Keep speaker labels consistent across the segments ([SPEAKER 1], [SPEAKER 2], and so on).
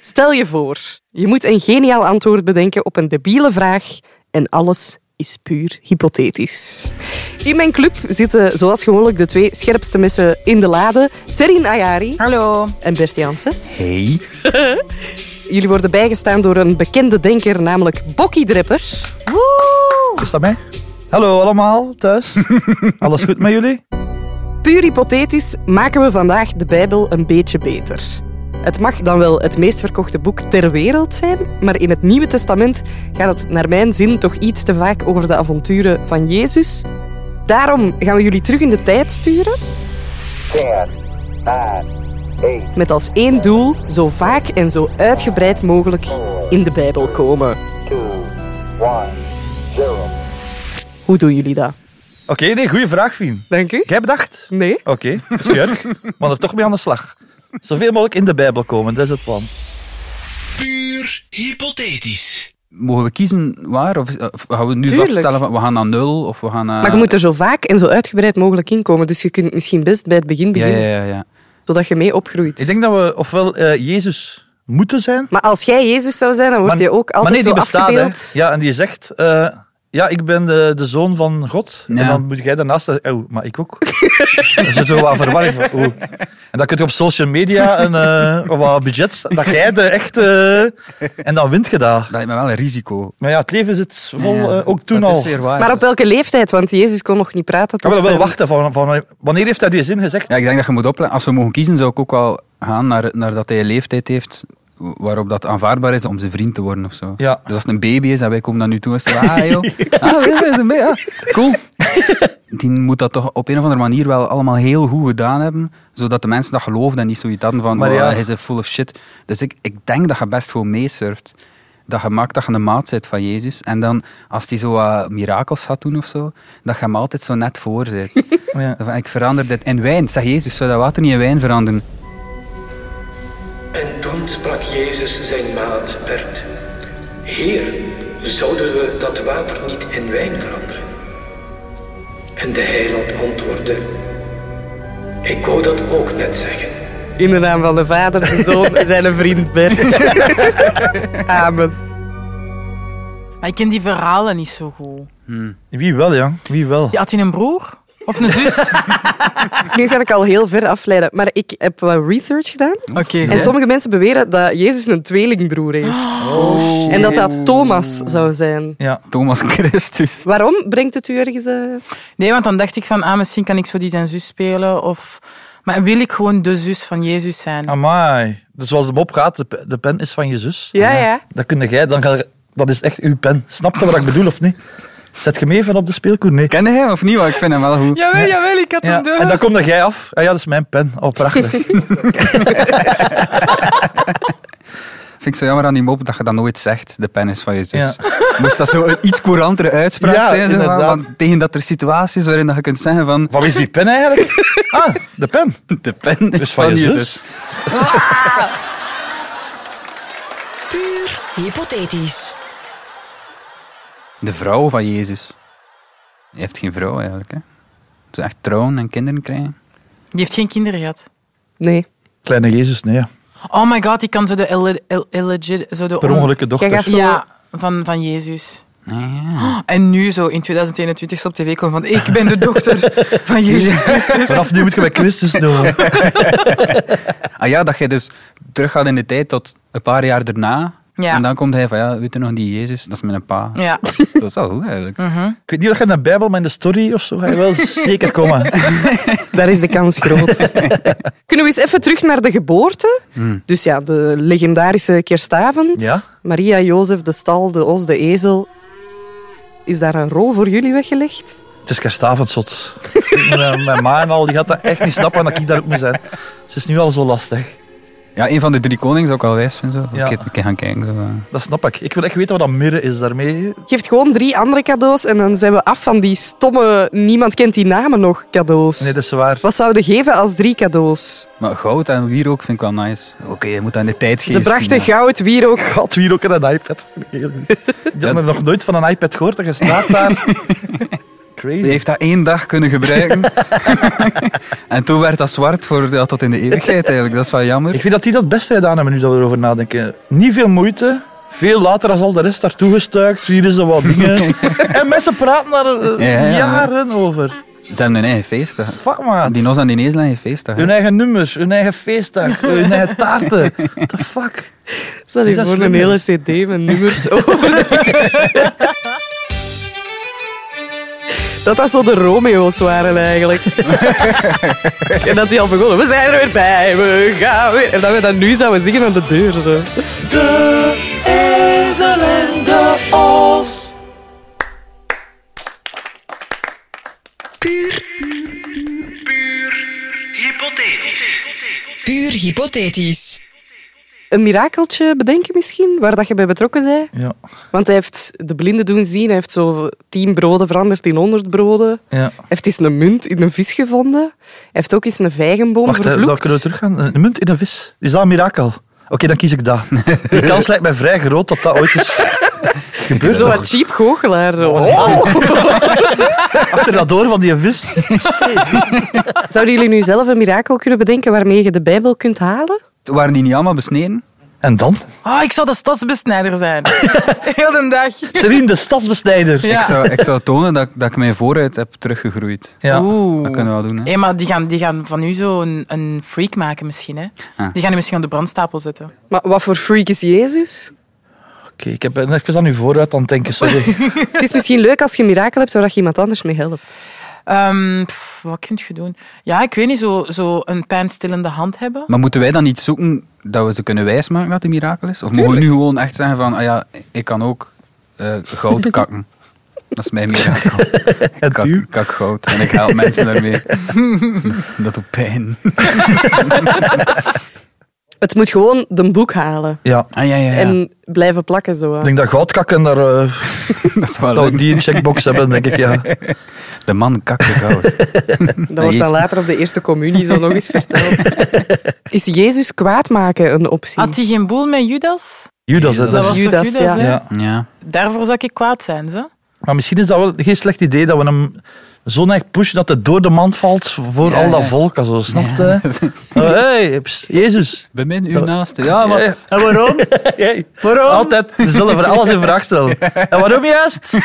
[SPEAKER 1] Stel je voor, je moet een geniaal antwoord bedenken op een debiele vraag en alles is puur hypothetisch. In mijn club zitten zoals gewoonlijk de twee scherpste messen in de lade. Serin Ayari
[SPEAKER 2] Hallo.
[SPEAKER 1] en Bert Janssens.
[SPEAKER 3] Hey.
[SPEAKER 1] Jullie worden bijgestaan door een bekende denker, namelijk Bokkie Drepper.
[SPEAKER 3] Is dat mij? Hallo allemaal thuis. Alles goed met jullie?
[SPEAKER 1] Puur hypothetisch maken we vandaag de Bijbel een beetje beter. Het mag dan wel het meest verkochte boek ter wereld zijn, maar in het Nieuwe Testament gaat het naar mijn zin toch iets te vaak over de avonturen van Jezus. Daarom gaan we jullie terug in de tijd sturen. Met als één doel zo vaak en zo uitgebreid mogelijk in de Bijbel komen. Hoe doen jullie dat?
[SPEAKER 3] Oké, nee, goede vraag, Fien.
[SPEAKER 1] Dank u.
[SPEAKER 3] Jij bedacht?
[SPEAKER 1] Nee?
[SPEAKER 3] Oké, scheurig. Maar er toch mee aan de slag. Zoveel mogelijk in de Bijbel komen, dat is het plan.
[SPEAKER 4] Puur hypothetisch.
[SPEAKER 5] Mogen we kiezen waar? Of, eh, of gaan we nu
[SPEAKER 1] Tuurlijk.
[SPEAKER 5] vaststellen van we gaan naar nul of we gaan naar...
[SPEAKER 1] Maar je moet er zo vaak en zo uitgebreid mogelijk in komen. Dus je kunt misschien best bij het begin
[SPEAKER 5] Ja,
[SPEAKER 1] beginnen,
[SPEAKER 5] ja, ja. ja.
[SPEAKER 1] zodat je mee opgroeit.
[SPEAKER 3] Ik denk dat we ofwel eh, Jezus moeten zijn...
[SPEAKER 1] Maar als jij Jezus zou zijn, dan word
[SPEAKER 3] maar-
[SPEAKER 1] je ook altijd
[SPEAKER 3] maar nee, die
[SPEAKER 1] zo
[SPEAKER 3] bestaat, hè.
[SPEAKER 1] afgebeeld.
[SPEAKER 3] Ja, en die zegt... eh, ja, ik ben de, de zoon van God.
[SPEAKER 5] Ja.
[SPEAKER 3] En dan moet jij daarnaast... zeggen, Oh, maar ik ook. Dan zit zo wat verwarring. van, oeh. En dan kun je op social media een, eh, wat budget... Dat jij de echte... eh, en dan wint je dat.
[SPEAKER 5] Dat lijkt me wel een risico.
[SPEAKER 3] Maar ja, het leven zit vol,
[SPEAKER 5] Ja.
[SPEAKER 3] eh, ook toen
[SPEAKER 5] dat
[SPEAKER 3] al.
[SPEAKER 5] is weer waar.
[SPEAKER 1] Maar op welke leeftijd? Want Jezus kon nog niet praten.
[SPEAKER 3] Ik
[SPEAKER 1] Tot
[SPEAKER 3] wil wel
[SPEAKER 1] zijn-
[SPEAKER 3] wachten. Van, van, wanneer heeft hij die zin gezegd?
[SPEAKER 5] Ja, ik denk dat je moet opletten. Als we mogen kiezen, zou ik ook wel gaan naar, naar dat hij een leeftijd heeft waarop dat aanvaardbaar is om zijn vriend te worden of zo.
[SPEAKER 3] Ja.
[SPEAKER 5] Dus als het een baby is en wij komen dan nu toe en zeggen, ah joh, ah, dit is een baby, ah, cool. Die moet dat toch op een of andere manier wel allemaal heel goed gedaan hebben, zodat de mensen dat geloven en niet zoiets hadden van,
[SPEAKER 3] Maar
[SPEAKER 5] oh,
[SPEAKER 3] ja.
[SPEAKER 5] hij is full of shit. Dus ik, ik denk dat je best gewoon meesurft. Dat je maakt dat je een maat bent van Jezus. En dan, als hij zo wat mirakels gaat doen of zo, dat je hem altijd zo net voor zit.
[SPEAKER 3] Oh Ja.
[SPEAKER 5] Van, Ik verander dit in wijn. Zeg Jezus, zou dat water niet in wijn veranderen?
[SPEAKER 6] En toen sprak Jezus zijn maat Bert. Heer, zouden we dat water niet in wijn veranderen? En de heiland antwoordde, ik wou dat ook net zeggen.
[SPEAKER 1] In de naam van de Vader, de Zoon en zijn vriend Bert. Amen.
[SPEAKER 2] Maar ik ken die verhalen niet zo goed.
[SPEAKER 3] Wie wel, ja. Wie wel.
[SPEAKER 2] Je had hij een broer? Of een zus? Oké.
[SPEAKER 1] Nu ga ik al heel ver afleiden. Maar ik heb wat research gedaan. En sommige mensen beweren dat Jezus een tweelingbroer
[SPEAKER 7] Oh,
[SPEAKER 1] heeft.
[SPEAKER 3] Oh,
[SPEAKER 1] en dat dat Thomas zou zijn.
[SPEAKER 3] Ja.
[SPEAKER 5] Thomas Christus.
[SPEAKER 1] Waarom brengt het u ergens... eh,
[SPEAKER 2] Nee, want dan dacht ik van, ah, misschien kan ik zo die zijn zus spelen. Of... Maar wil ik gewoon de zus van Jezus
[SPEAKER 3] Ah.
[SPEAKER 2] zijn?
[SPEAKER 3] Amai. Dus zoals de mop gaat, de, pe- de pen is van je zus.
[SPEAKER 1] Ja, ja.
[SPEAKER 3] Dat kun jij, dan ga, je- dat is echt uw pen. Snap je wat ik bedoel of niet? Zet je mee van op de speelkoer? Nee.
[SPEAKER 5] Ken je hem of niet? Want ik vind hem wel goed.
[SPEAKER 2] Jawel, jawel, ik had
[SPEAKER 3] Ja. En dan kom er jij af. Ah, ja, dat is mijn pen. Oh, prachtig.
[SPEAKER 5] Vind ik zo jammer aan die mop dat je dat nooit zegt. De pen is van je zus.
[SPEAKER 3] Ja.
[SPEAKER 5] Moest dat zo een iets courantere uitspraak
[SPEAKER 3] Ja,
[SPEAKER 5] zijn? Zo, van,
[SPEAKER 3] inderdaad.
[SPEAKER 5] want tegen dat er situaties waarin dat je kunt zeggen van...
[SPEAKER 3] Wat is die pen eigenlijk? Ah, de pen.
[SPEAKER 5] De pen is,
[SPEAKER 3] Dus van je zus.
[SPEAKER 7] Puur hypothetisch.
[SPEAKER 5] De vrouw van Jezus. Je heeft geen vrouw eigenlijk. Hè? Ze echt trouwen en kinderen krijgen.
[SPEAKER 2] Die heeft geen kinderen gehad.
[SPEAKER 1] Nee.
[SPEAKER 3] Kleine Jezus, nee. ja.
[SPEAKER 2] Oh my god, ik kan zo de ille- ill- illegit... Zo de
[SPEAKER 3] Per
[SPEAKER 2] on-
[SPEAKER 3] ongeluk een dochter.
[SPEAKER 1] Jij gaat zo...
[SPEAKER 2] Ja, van, van Jezus. Oh, En nu zo in 2021 zo op tv komen van ik ben de dochter van Jezus Christus.
[SPEAKER 3] Vanaf nu moet je met Christus doen.
[SPEAKER 5] Ah ja, dat je dus teruggaat in de tijd tot een paar jaar daarna.
[SPEAKER 2] Ja.
[SPEAKER 5] En dan komt hij van, ja, weet je nog die Jezus? Dat is mijn pa.
[SPEAKER 2] Ja. mhm.
[SPEAKER 5] Dat is wel goed eigenlijk.
[SPEAKER 3] Ik weet niet of je in de Bijbel, maar in de story of zo ga je wel zeker komen.
[SPEAKER 1] Daar is de kans groot. Kunnen we eens even terug naar de geboorte? Dus ja, de legendarische kerstavond.
[SPEAKER 3] Hmm. Ja.
[SPEAKER 1] Maria, Jozef, de stal, de os, de ezel. Is daar een rol voor jullie weggelegd?
[SPEAKER 3] Het is kerstavond, zot. mijn, mijn ma en al, die gaat dat echt niet snappen dat ik daar ook moet zijn. Het is nu al zo lastig.
[SPEAKER 5] Ja, een van de drie koningen zou ik wel wijs vinden. Zo.
[SPEAKER 3] Ja.
[SPEAKER 5] Een, keer, een keer gaan kijken. Zo. eh.
[SPEAKER 3] Dat snap ik. Ik wil echt weten wat dat mirre is daarmee.
[SPEAKER 1] Geeft gewoon drie andere cadeaus en dan zijn we af van die stomme, niemand kent die namen nog cadeaus.
[SPEAKER 3] Nee, dat is waar.
[SPEAKER 1] Wat zouden geven als drie cadeaus?
[SPEAKER 5] Maar goud en wierook ook vind ik wel nice. Oké, je moet aan de tijd
[SPEAKER 1] Ze brachten goud, wierook.
[SPEAKER 3] Had hier ook een iPad. Ik had nog nooit van een iPad gehoord. Dat je staat daar. Crazy.
[SPEAKER 5] Die heeft dat één dag kunnen gebruiken. en toen werd dat zwart voor, ja, tot in de eeuwigheid eigenlijk. Dat is wel jammer.
[SPEAKER 3] Ik vind dat die dat het beste gedaan hebben, nu dat we erover nadenken. Niet veel moeite. Veel later als al de rest daartoe gestuikt. Hier is er wat dingen. en mensen praten daar eh,
[SPEAKER 5] Ja, ja, ja.
[SPEAKER 3] jaren over.
[SPEAKER 5] Ze hebben hun eigen feestdag.
[SPEAKER 3] Fuck, man.
[SPEAKER 5] Die Nos en die Neesland heeft feestdag. hè.
[SPEAKER 3] Hun eigen nummers, hun eigen feestdag, hun eigen taarten. What the fuck?
[SPEAKER 1] Stel
[SPEAKER 3] Is
[SPEAKER 1] je
[SPEAKER 3] dat
[SPEAKER 1] voor
[SPEAKER 3] slim,
[SPEAKER 1] Dus een hele cd met nummers over. de- Dat dat zo de Romeo's waren eigenlijk. en dat die al begonnen. We zijn er weer bij, we gaan weer. En dat we dat nu zouden zingen aan de deur. Zo.
[SPEAKER 4] Hypothetisch.
[SPEAKER 7] Puur hypothetisch.
[SPEAKER 1] Een mirakeltje bedenken misschien, waar dat je bij betrokken bent.
[SPEAKER 3] Ja.
[SPEAKER 1] Want hij heeft de blinden doen zien. Hij heeft zo tien broden veranderd in honderd broden. Hij
[SPEAKER 3] ja.
[SPEAKER 1] heeft eens een munt in een vis gevonden. Hij heeft ook eens een vijgenboom
[SPEAKER 3] Wacht, hè, dan
[SPEAKER 1] vervloekt.
[SPEAKER 3] kunnen we teruggaan. Een munt in een vis. Is dat een mirakel? Oké, dan kies ik dat. Die kans lijkt mij vrij groot dat dat ooit is gebeurd.
[SPEAKER 1] zo
[SPEAKER 3] toch? Oh!
[SPEAKER 1] wat cheap goochelaar. Zo.
[SPEAKER 3] Achter dat door van die vis.
[SPEAKER 1] Zouden jullie nu zelf een mirakel kunnen bedenken waarmee je de Bijbel kunt halen?
[SPEAKER 5] Toen waren die niet allemaal besneden.
[SPEAKER 3] En dan?
[SPEAKER 2] Oh, ik zou de stadsbesnijder zijn. Heel de dag.
[SPEAKER 3] Serien de stadsbesnijder.
[SPEAKER 5] Ik, zou, ik zou tonen dat, dat ik mij vooruit heb teruggegroeid.
[SPEAKER 3] Ja.
[SPEAKER 2] Oeh.
[SPEAKER 5] Dat kunnen we wel doen. Hè.
[SPEAKER 2] Hé, maar die gaan, die gaan van u zo een, een freak maken misschien, hè?
[SPEAKER 5] Ah.
[SPEAKER 2] Die gaan u misschien op de brandstapel zetten.
[SPEAKER 1] Maar wat voor freak is Jezus?
[SPEAKER 3] Oké, ik heb even aan u vooruit aan het denken, sorry.
[SPEAKER 1] Het is misschien leuk als je een mirakel hebt waar je iemand anders mee helpt.
[SPEAKER 2] Ehm, pff, wat kun je doen? Ja, ik weet niet, zo, zo een pijnstillende hand hebben.
[SPEAKER 5] Maar moeten wij dan niet zoeken dat we ze kunnen wijsmaken dat het een mirakel is? Of mogen we nu gewoon echt zeggen van, ah ja, ik kan ook eh, goud kakken. Dat is mijn mirakel.
[SPEAKER 3] En
[SPEAKER 5] Kak,
[SPEAKER 3] u?
[SPEAKER 5] kak goud. En ik help mensen daarmee. Dat doet pijn.
[SPEAKER 1] Het moet gewoon de boek halen
[SPEAKER 3] Ja,
[SPEAKER 5] Ah ja, ja, ja.
[SPEAKER 1] en blijven plakken zo. aan.
[SPEAKER 3] ik denk dat goudkakken daar, eh,
[SPEAKER 5] dat is wel
[SPEAKER 3] dat we
[SPEAKER 5] leuk.
[SPEAKER 3] die een checkbox hebben, denk ik. Ja.
[SPEAKER 5] De man kakte goud.
[SPEAKER 1] Dat wordt dan
[SPEAKER 5] Jezus.
[SPEAKER 1] later op de eerste communie zo nog eens verteld. Is Jezus kwaad maken een optie?
[SPEAKER 2] Had hij geen boel met Judas?
[SPEAKER 3] Judas, hè,
[SPEAKER 5] Dat
[SPEAKER 2] Dat
[SPEAKER 3] dat
[SPEAKER 2] was
[SPEAKER 3] is...
[SPEAKER 1] Judas,
[SPEAKER 2] toch Judas,
[SPEAKER 1] ja.
[SPEAKER 2] hè?
[SPEAKER 3] Ja.
[SPEAKER 5] Ja.
[SPEAKER 2] Daarvoor zou ik kwaad zijn, ze.
[SPEAKER 3] Maar misschien is dat wel geen slecht idee dat we hem zo'n echt pushen dat het door de mand valt voor
[SPEAKER 5] Ja,
[SPEAKER 3] al dat
[SPEAKER 5] ja.
[SPEAKER 3] volk. Zo, snap je? Oh, hey, pst, Jezus.
[SPEAKER 5] Bemin uw
[SPEAKER 3] Dat-
[SPEAKER 5] naaste. Ja, maar...
[SPEAKER 3] Ja. En waarom? waarom? Altijd dezelfde, alles in vraag stellen. En waarom juist?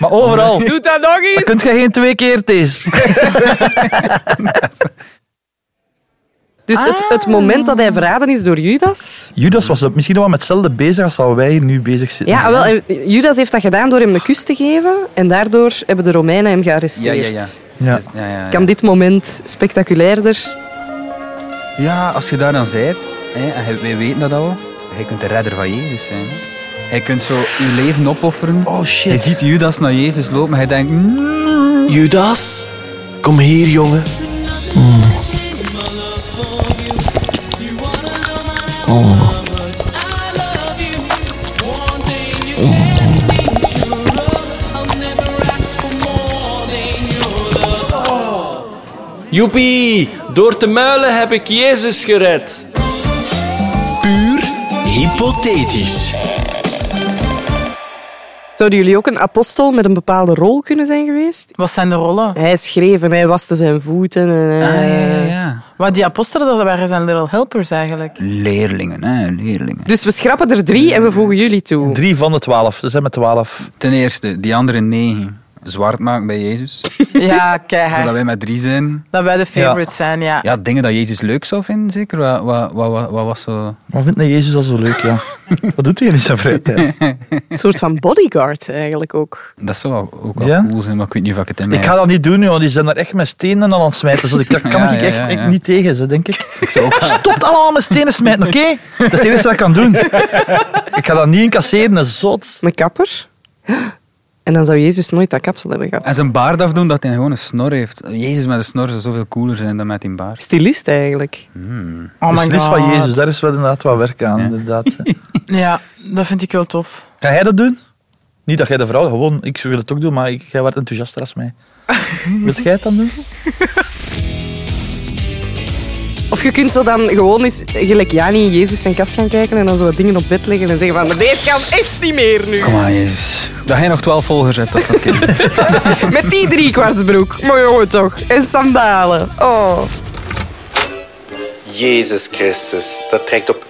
[SPEAKER 3] maar overal.
[SPEAKER 1] Doe dat nog eens!
[SPEAKER 3] Kunt je geen twee keer deze?
[SPEAKER 1] Dus het, het moment dat hij verraden is door Judas...
[SPEAKER 3] Judas was dat misschien wel met hetzelfde bezig als wat wij hier nu bezig zitten.
[SPEAKER 1] Ja, wel, en Judas heeft dat gedaan door hem een kus te geven. En daardoor hebben de Romeinen hem
[SPEAKER 5] Ja, ja,
[SPEAKER 1] gearresteerd.
[SPEAKER 5] ja.
[SPEAKER 3] Ja.
[SPEAKER 5] Ja, ja, ja.
[SPEAKER 1] Kan dit moment spectaculairder?
[SPEAKER 5] Ja, als je daar dan zijt, hè, en je- wij weten dat al, je kunt de redder van Jezus zijn. Hè. Je kunt zo je leven opofferen.
[SPEAKER 3] Oh
[SPEAKER 5] Je
[SPEAKER 3] shit.
[SPEAKER 5] ziet Judas naar Jezus lopen, maar je denkt, "Mm,
[SPEAKER 4] Judas, kom hier, jongen.
[SPEAKER 8] Mm. Joepie, door te muilen heb ik Jezus gered.
[SPEAKER 4] Puur hypothetisch.
[SPEAKER 1] Zouden jullie ook een apostel met een bepaalde rol kunnen zijn geweest?
[SPEAKER 2] Wat zijn de rollen?
[SPEAKER 1] Hij schreef en hij waste zijn voeten. En, eh.
[SPEAKER 5] ah, ja,
[SPEAKER 1] hij-
[SPEAKER 5] ja, ja.
[SPEAKER 2] Wat die apostelen, dat waren zijn little helpers eigenlijk.
[SPEAKER 5] Leerlingen, hè, leerlingen.
[SPEAKER 1] Dus we schrappen er drie en we voegen jullie toe.
[SPEAKER 3] Drie van de twaalf. Ze zijn met twaalf.
[SPEAKER 5] Ten eerste, die andere negen zwart maken bij Jezus,
[SPEAKER 2] Ja, keihard.
[SPEAKER 5] zodat wij met drie zijn.
[SPEAKER 2] Dat wij de favorites zijn, ja.
[SPEAKER 5] Ja, dingen dat Jezus leuk zou vinden, zeker. Wat, wat, wat, wat, wat was zo...
[SPEAKER 3] Wat vindt nou Jezus al zo leuk, ja? Wat doet hij in zijn vrije tijd?
[SPEAKER 1] Een soort van bodyguard eigenlijk ook.
[SPEAKER 5] Dat zou wel- ook wel
[SPEAKER 3] Ja?
[SPEAKER 5] cool zijn, maar ik weet niet of ik het in mij
[SPEAKER 3] Ik ga dat niet doen, joh. die zijn daar echt met stenen aan het smijten. Dus ik- daar kan
[SPEAKER 5] Ja,
[SPEAKER 3] ik
[SPEAKER 5] ja,
[SPEAKER 3] echt
[SPEAKER 5] ja, ja.
[SPEAKER 3] niet tegen, ze, denk ik.
[SPEAKER 5] Ik zou ook gaan-
[SPEAKER 3] Stopt allemaal met stenen smijten, oké? Dat is het enige dat ik kan doen. Ik ga dat niet incasseren, dat is zot.
[SPEAKER 1] Een kapper. En dan zou Jezus nooit dat kapsel hebben gehad.
[SPEAKER 5] En zijn baard afdoen, dat hij gewoon een snor heeft. Jezus met een snor zou zoveel cooler zijn dan met die baard.
[SPEAKER 1] Stilist eigenlijk.
[SPEAKER 2] Oh
[SPEAKER 3] dus
[SPEAKER 2] my
[SPEAKER 3] het is
[SPEAKER 2] god.
[SPEAKER 3] van Jezus, daar is wel inderdaad wat werk aan. Inderdaad.
[SPEAKER 2] Ja, dat vind ik wel tof.
[SPEAKER 3] Ga jij dat doen? Niet dat jij de vrouw, gewoon, ik wil het ook doen, maar ik, jij wordt enthousiaster als mij. Wilt jij het dan doen?
[SPEAKER 1] Of je kunt zo dan gewoon eens gelijk Jani in Jezus zijn kast gaan kijken en dan zo wat dingen op bed leggen en zeggen van "Maar deze kan echt niet meer nu.
[SPEAKER 5] Kom aan, Jezus. Dat jij nog 12 volgers hebt, dat is oké.
[SPEAKER 1] Met die driekwartsbroek. Maar jongen toch. En sandalen. Oh.
[SPEAKER 9] Jezus Christus, dat trekt op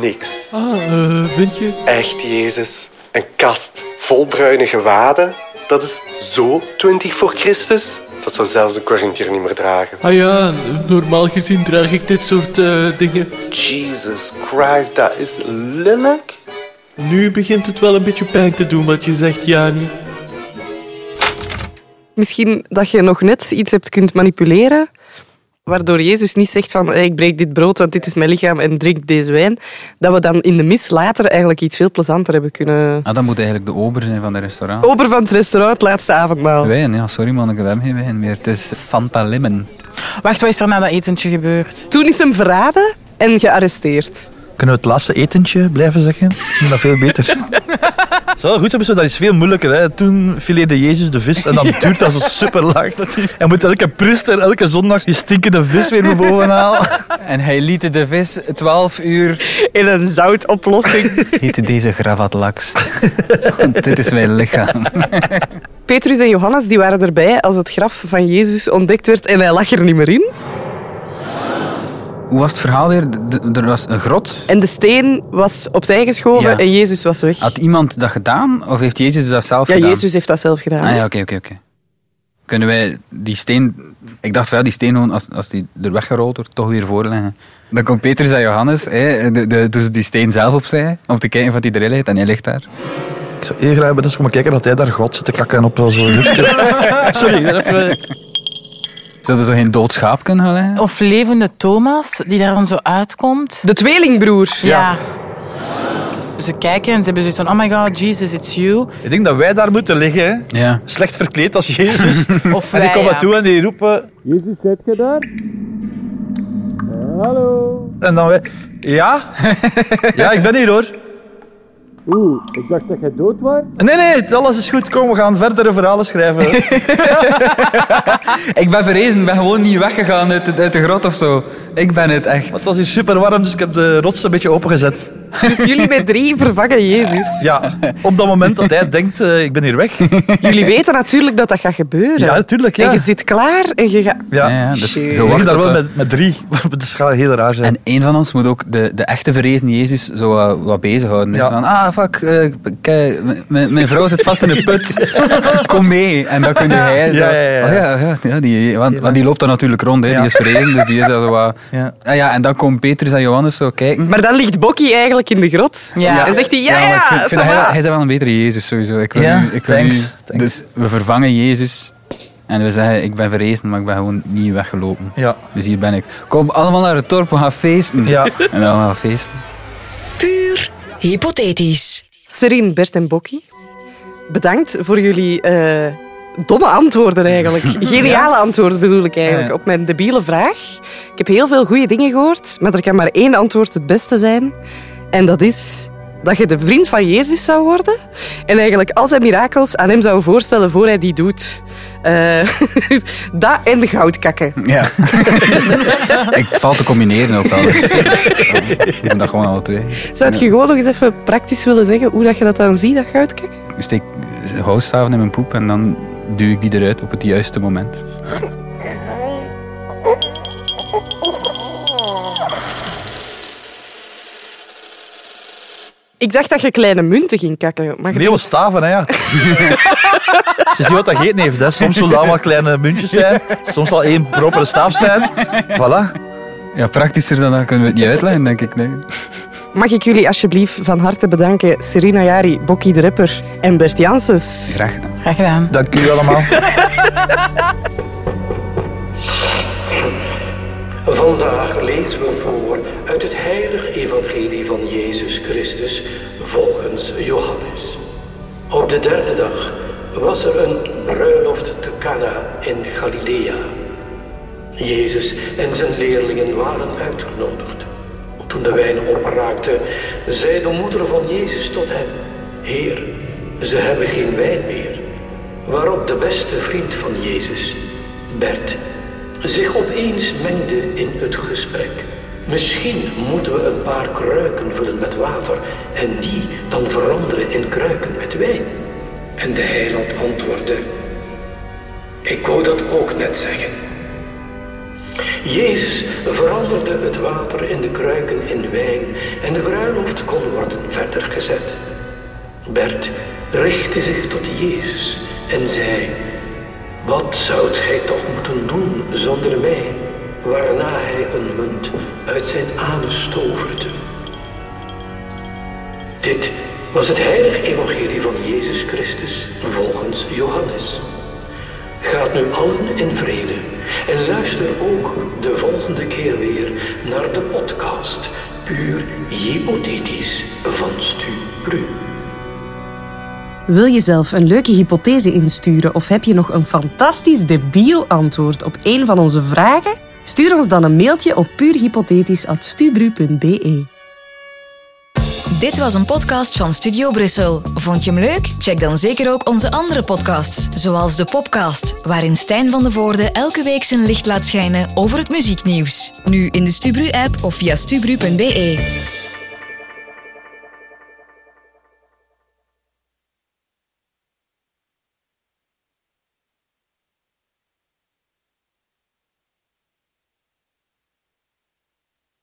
[SPEAKER 9] niks. Ah,
[SPEAKER 10] Eh,
[SPEAKER 9] vind je? Echt, Jezus. Een kast vol bruine gewaden? Dat is zo 20 voor Christus? Dat zou zelfs een Corinthiër niet meer dragen.
[SPEAKER 10] Ah ja, normaal gezien draag ik dit soort eh, dingen.
[SPEAKER 9] Jesus Christ, dat is lelijk.
[SPEAKER 10] Nu begint het wel een beetje pijn te doen wat je zegt, Jani.
[SPEAKER 1] Misschien dat je nog net iets hebt kunt manipuleren, waardoor Jezus niet zegt van "Hey, ik breek dit brood, want dit is mijn lichaam en drink deze wijn. Dat we dan in de mis later eigenlijk iets veel plezanter hebben kunnen...
[SPEAKER 5] Ah, dat moet eigenlijk de ober zijn van de restaurant. Oh.
[SPEAKER 1] Ober van het restaurant, het laatste avondmaal.
[SPEAKER 5] Wijn, ja, sorry man, ik heb geen wijn meer. Het is Fanta Lemon.
[SPEAKER 2] Wacht, wat is er na dat etentje gebeurd?
[SPEAKER 1] Toen is hem verraden en gearresteerd.
[SPEAKER 3] Kunnen we het laatste etentje blijven zeggen? Ik vind dat veel beter. Zo, goed zo, zo, dat is veel moeilijker. Hè. Toen fileerde Jezus de vis en dan duurt dat zo super lang. En moet elke priester elke zondag die stinkende vis weer naar boven halen.
[SPEAKER 5] En hij liet de vis 12 uur.
[SPEAKER 1] In een zoutoplossing.
[SPEAKER 5] Heette deze gravat laks. Dit is mijn lichaam.
[SPEAKER 1] Petrus en Johannes die waren erbij als het graf van Jezus ontdekt werd en hij lag er niet meer in.
[SPEAKER 5] Hoe was het verhaal weer? De- de- er was een grot.
[SPEAKER 1] En de steen was opzij geschoven
[SPEAKER 5] Ja.
[SPEAKER 1] en Jezus was weg.
[SPEAKER 5] Had iemand dat gedaan? Of heeft Jezus dat zelf
[SPEAKER 1] ja,
[SPEAKER 5] gedaan?
[SPEAKER 1] Jezus heeft dat zelf gedaan.
[SPEAKER 5] Ah ja, oké, oké, oké. Kunnen wij die steen... Ik dacht wel, die steen gewoon, als, als die er weggerold wordt, toch weer voorleggen. Dan komt Petrus en Johannes, hè, de, de, doen ze die steen zelf opzij, om te kijken of die erin ligt, en hij ligt daar.
[SPEAKER 3] Ik zou eerder hebben, dus komen kijken dat hij daar god zit te kakken op zo'n rustje. Sorry, even...
[SPEAKER 5] Zouden ze geen dood schaap kunnen gaan leggen?
[SPEAKER 2] Of levende Thomas, die daar dan zo uitkomt.
[SPEAKER 1] De tweelingbroer.
[SPEAKER 2] Ja. Ze kijken en ze hebben zoiets van, oh my god, Jesus, it's you.
[SPEAKER 3] Ik denk dat wij daar moeten liggen, hè.
[SPEAKER 5] Ja.
[SPEAKER 3] slecht verkleed als Jezus.
[SPEAKER 2] Of
[SPEAKER 3] Hm. en die
[SPEAKER 2] wij,
[SPEAKER 3] komen
[SPEAKER 2] ja.
[SPEAKER 3] toe en die roepen...
[SPEAKER 10] Jezus, zit je daar? hallo?
[SPEAKER 3] En dan wij... Ja? Ja, ik ben hier hoor.
[SPEAKER 10] Oeh, ik dacht dat jij dood was.
[SPEAKER 3] Nee, nee, alles is goed. Kom, we gaan verdere verhalen schrijven.
[SPEAKER 5] Ik ben verrezen, ik ben gewoon niet weggegaan uit, de- uit de grot of zo. Ik ben het echt.
[SPEAKER 3] Het was hier super warm, dus ik heb de rots een beetje opengezet.
[SPEAKER 1] Dus jullie met drie vervangen Jezus.
[SPEAKER 3] Ja, op dat moment dat hij denkt, eh, ik ben hier weg.
[SPEAKER 1] Jullie weten natuurlijk dat dat gaat gebeuren.
[SPEAKER 3] Ja, natuurlijk, ja.
[SPEAKER 1] En je zit klaar en je gaat...
[SPEAKER 3] Ja.
[SPEAKER 5] Ja, ja, dus
[SPEAKER 1] Shit.
[SPEAKER 5] je
[SPEAKER 3] We
[SPEAKER 5] wacht
[SPEAKER 3] liggen daar
[SPEAKER 5] tot
[SPEAKER 3] wel
[SPEAKER 5] dat-
[SPEAKER 3] met, met drie. Dat is gaat heel raar zijn.
[SPEAKER 5] En één van ons moet ook de, de echte verrezen Jezus zo wat, wat bezighouden. Dus
[SPEAKER 3] Ja.
[SPEAKER 5] van, ah, fuck, eh, kijk, m- m- mijn vrouw zit vast in de put. Kom mee. En dan kun je hij zo-
[SPEAKER 3] Ja, ja, ja.
[SPEAKER 5] Oh, ja, ja, ja, die, want, want die loopt dan natuurlijk rond, hè. die is verrezen, dus die is daar zo wat...
[SPEAKER 3] Ja.
[SPEAKER 5] Ah, ja, en dan komen Petrus en Johannes zo kijken.
[SPEAKER 1] Maar dan ligt Bokkie eigenlijk in de grot.
[SPEAKER 2] Ja.
[SPEAKER 1] En zegt hij, ja,
[SPEAKER 5] maar ik
[SPEAKER 1] ja,
[SPEAKER 5] vind, ik vind
[SPEAKER 1] ça
[SPEAKER 5] hij,
[SPEAKER 1] va.
[SPEAKER 5] hij is wel een betere Jezus sowieso. Ik wil
[SPEAKER 3] Ja,
[SPEAKER 5] nu- ik wil
[SPEAKER 3] thanks,
[SPEAKER 5] nu-
[SPEAKER 3] thanks.
[SPEAKER 5] Dus we vervangen Jezus en we zeggen, ik ben verrezen, maar ik ben gewoon niet weggelopen.
[SPEAKER 3] Ja.
[SPEAKER 5] Dus hier ben ik. Kom allemaal naar het dorp, we gaan feesten.
[SPEAKER 3] Ja.
[SPEAKER 5] En dan gaan we feesten.
[SPEAKER 7] Puur hypothetisch.
[SPEAKER 1] Serien, Bert en Bokkie, bedankt voor jullie eh, domme antwoorden eigenlijk. Geniale antwoorden bedoel ik eigenlijk
[SPEAKER 3] Ja.
[SPEAKER 1] op mijn debiele vraag. Ik heb heel veel goede dingen gehoord, maar er kan maar één antwoord het beste zijn. En dat is dat je de vriend van Jezus zou worden en eigenlijk al zijn mirakels aan hem zou voorstellen voor hij die doet. Eh, dat en de goudkakken.
[SPEAKER 5] Ja. ik valt te combineren ook al. Ik doe dat gewoon alle twee.
[SPEAKER 1] Zou je gewoon nog eens even praktisch willen zeggen hoe dat je dat dan ziet, dat goudkakken?
[SPEAKER 5] Ik steek houtstaven in mijn poep en dan duw ik die eruit op het juiste moment.
[SPEAKER 1] Ik dacht dat je kleine munten ging kakken, maar je
[SPEAKER 3] Meeuwen staven, hè, ja. Ze zien wat dat gegeten heeft. Hè. Soms zullen het allemaal kleine muntjes zijn. Soms zal één propere staaf zijn. Voilà.
[SPEAKER 5] Ja, praktischer dan dat kunnen we het niet uitleggen, denk ik. Nee.
[SPEAKER 1] Mag ik jullie alsjeblieft van harte bedanken, Serena Jari, Bokkie de Ripper en Bert Janssens.
[SPEAKER 5] Graag gedaan.
[SPEAKER 2] Graag gedaan.
[SPEAKER 3] Dank u allemaal.
[SPEAKER 6] Vandaag lezen we voor uit het heilige evangelie van Jezus Christus volgens Johannes. Op de derde dag was er een bruiloft te Cana in Galilea. Jezus en zijn leerlingen waren uitgenodigd. Toen de wijn opraakte, zei de moeder van Jezus tot hem: Heer, ze hebben geen wijn meer. Waarop de beste vriend van Jezus, Bert, zich opeens mengde in het gesprek. Misschien moeten we een paar kruiken vullen met water en die dan veranderen in kruiken met wijn. En de heiland antwoordde: Ik wou dat ook net zeggen. Jezus veranderde het water in de kruiken in wijn en de bruiloft kon worden verder gezet. Bert richtte zich tot Jezus en zei: Wat zoudt gij toch moeten doen zonder mij? Waarna hij een munt uit zijn anus toverde. Dit was het heilige evangelie van Jezus Christus volgens Johannes. Gaat nu allen in vrede en luister ook de volgende keer weer naar de podcast Puur Hypothetisch van Stu Pru.
[SPEAKER 1] Wil je zelf een leuke hypothese insturen of heb je nog een fantastisch debiel antwoord op een van onze vragen? Stuur ons dan een mailtje op puurhypothetisch.stubru.be.
[SPEAKER 2] Dit was een podcast van Studio Brussel. Vond je hem leuk? Check dan zeker ook onze andere podcasts, zoals de Popcast, waarin Stijn van de Voorde elke week zijn licht laat schijnen over het muzieknieuws. Nu in de Stubru-app of via stubru.be.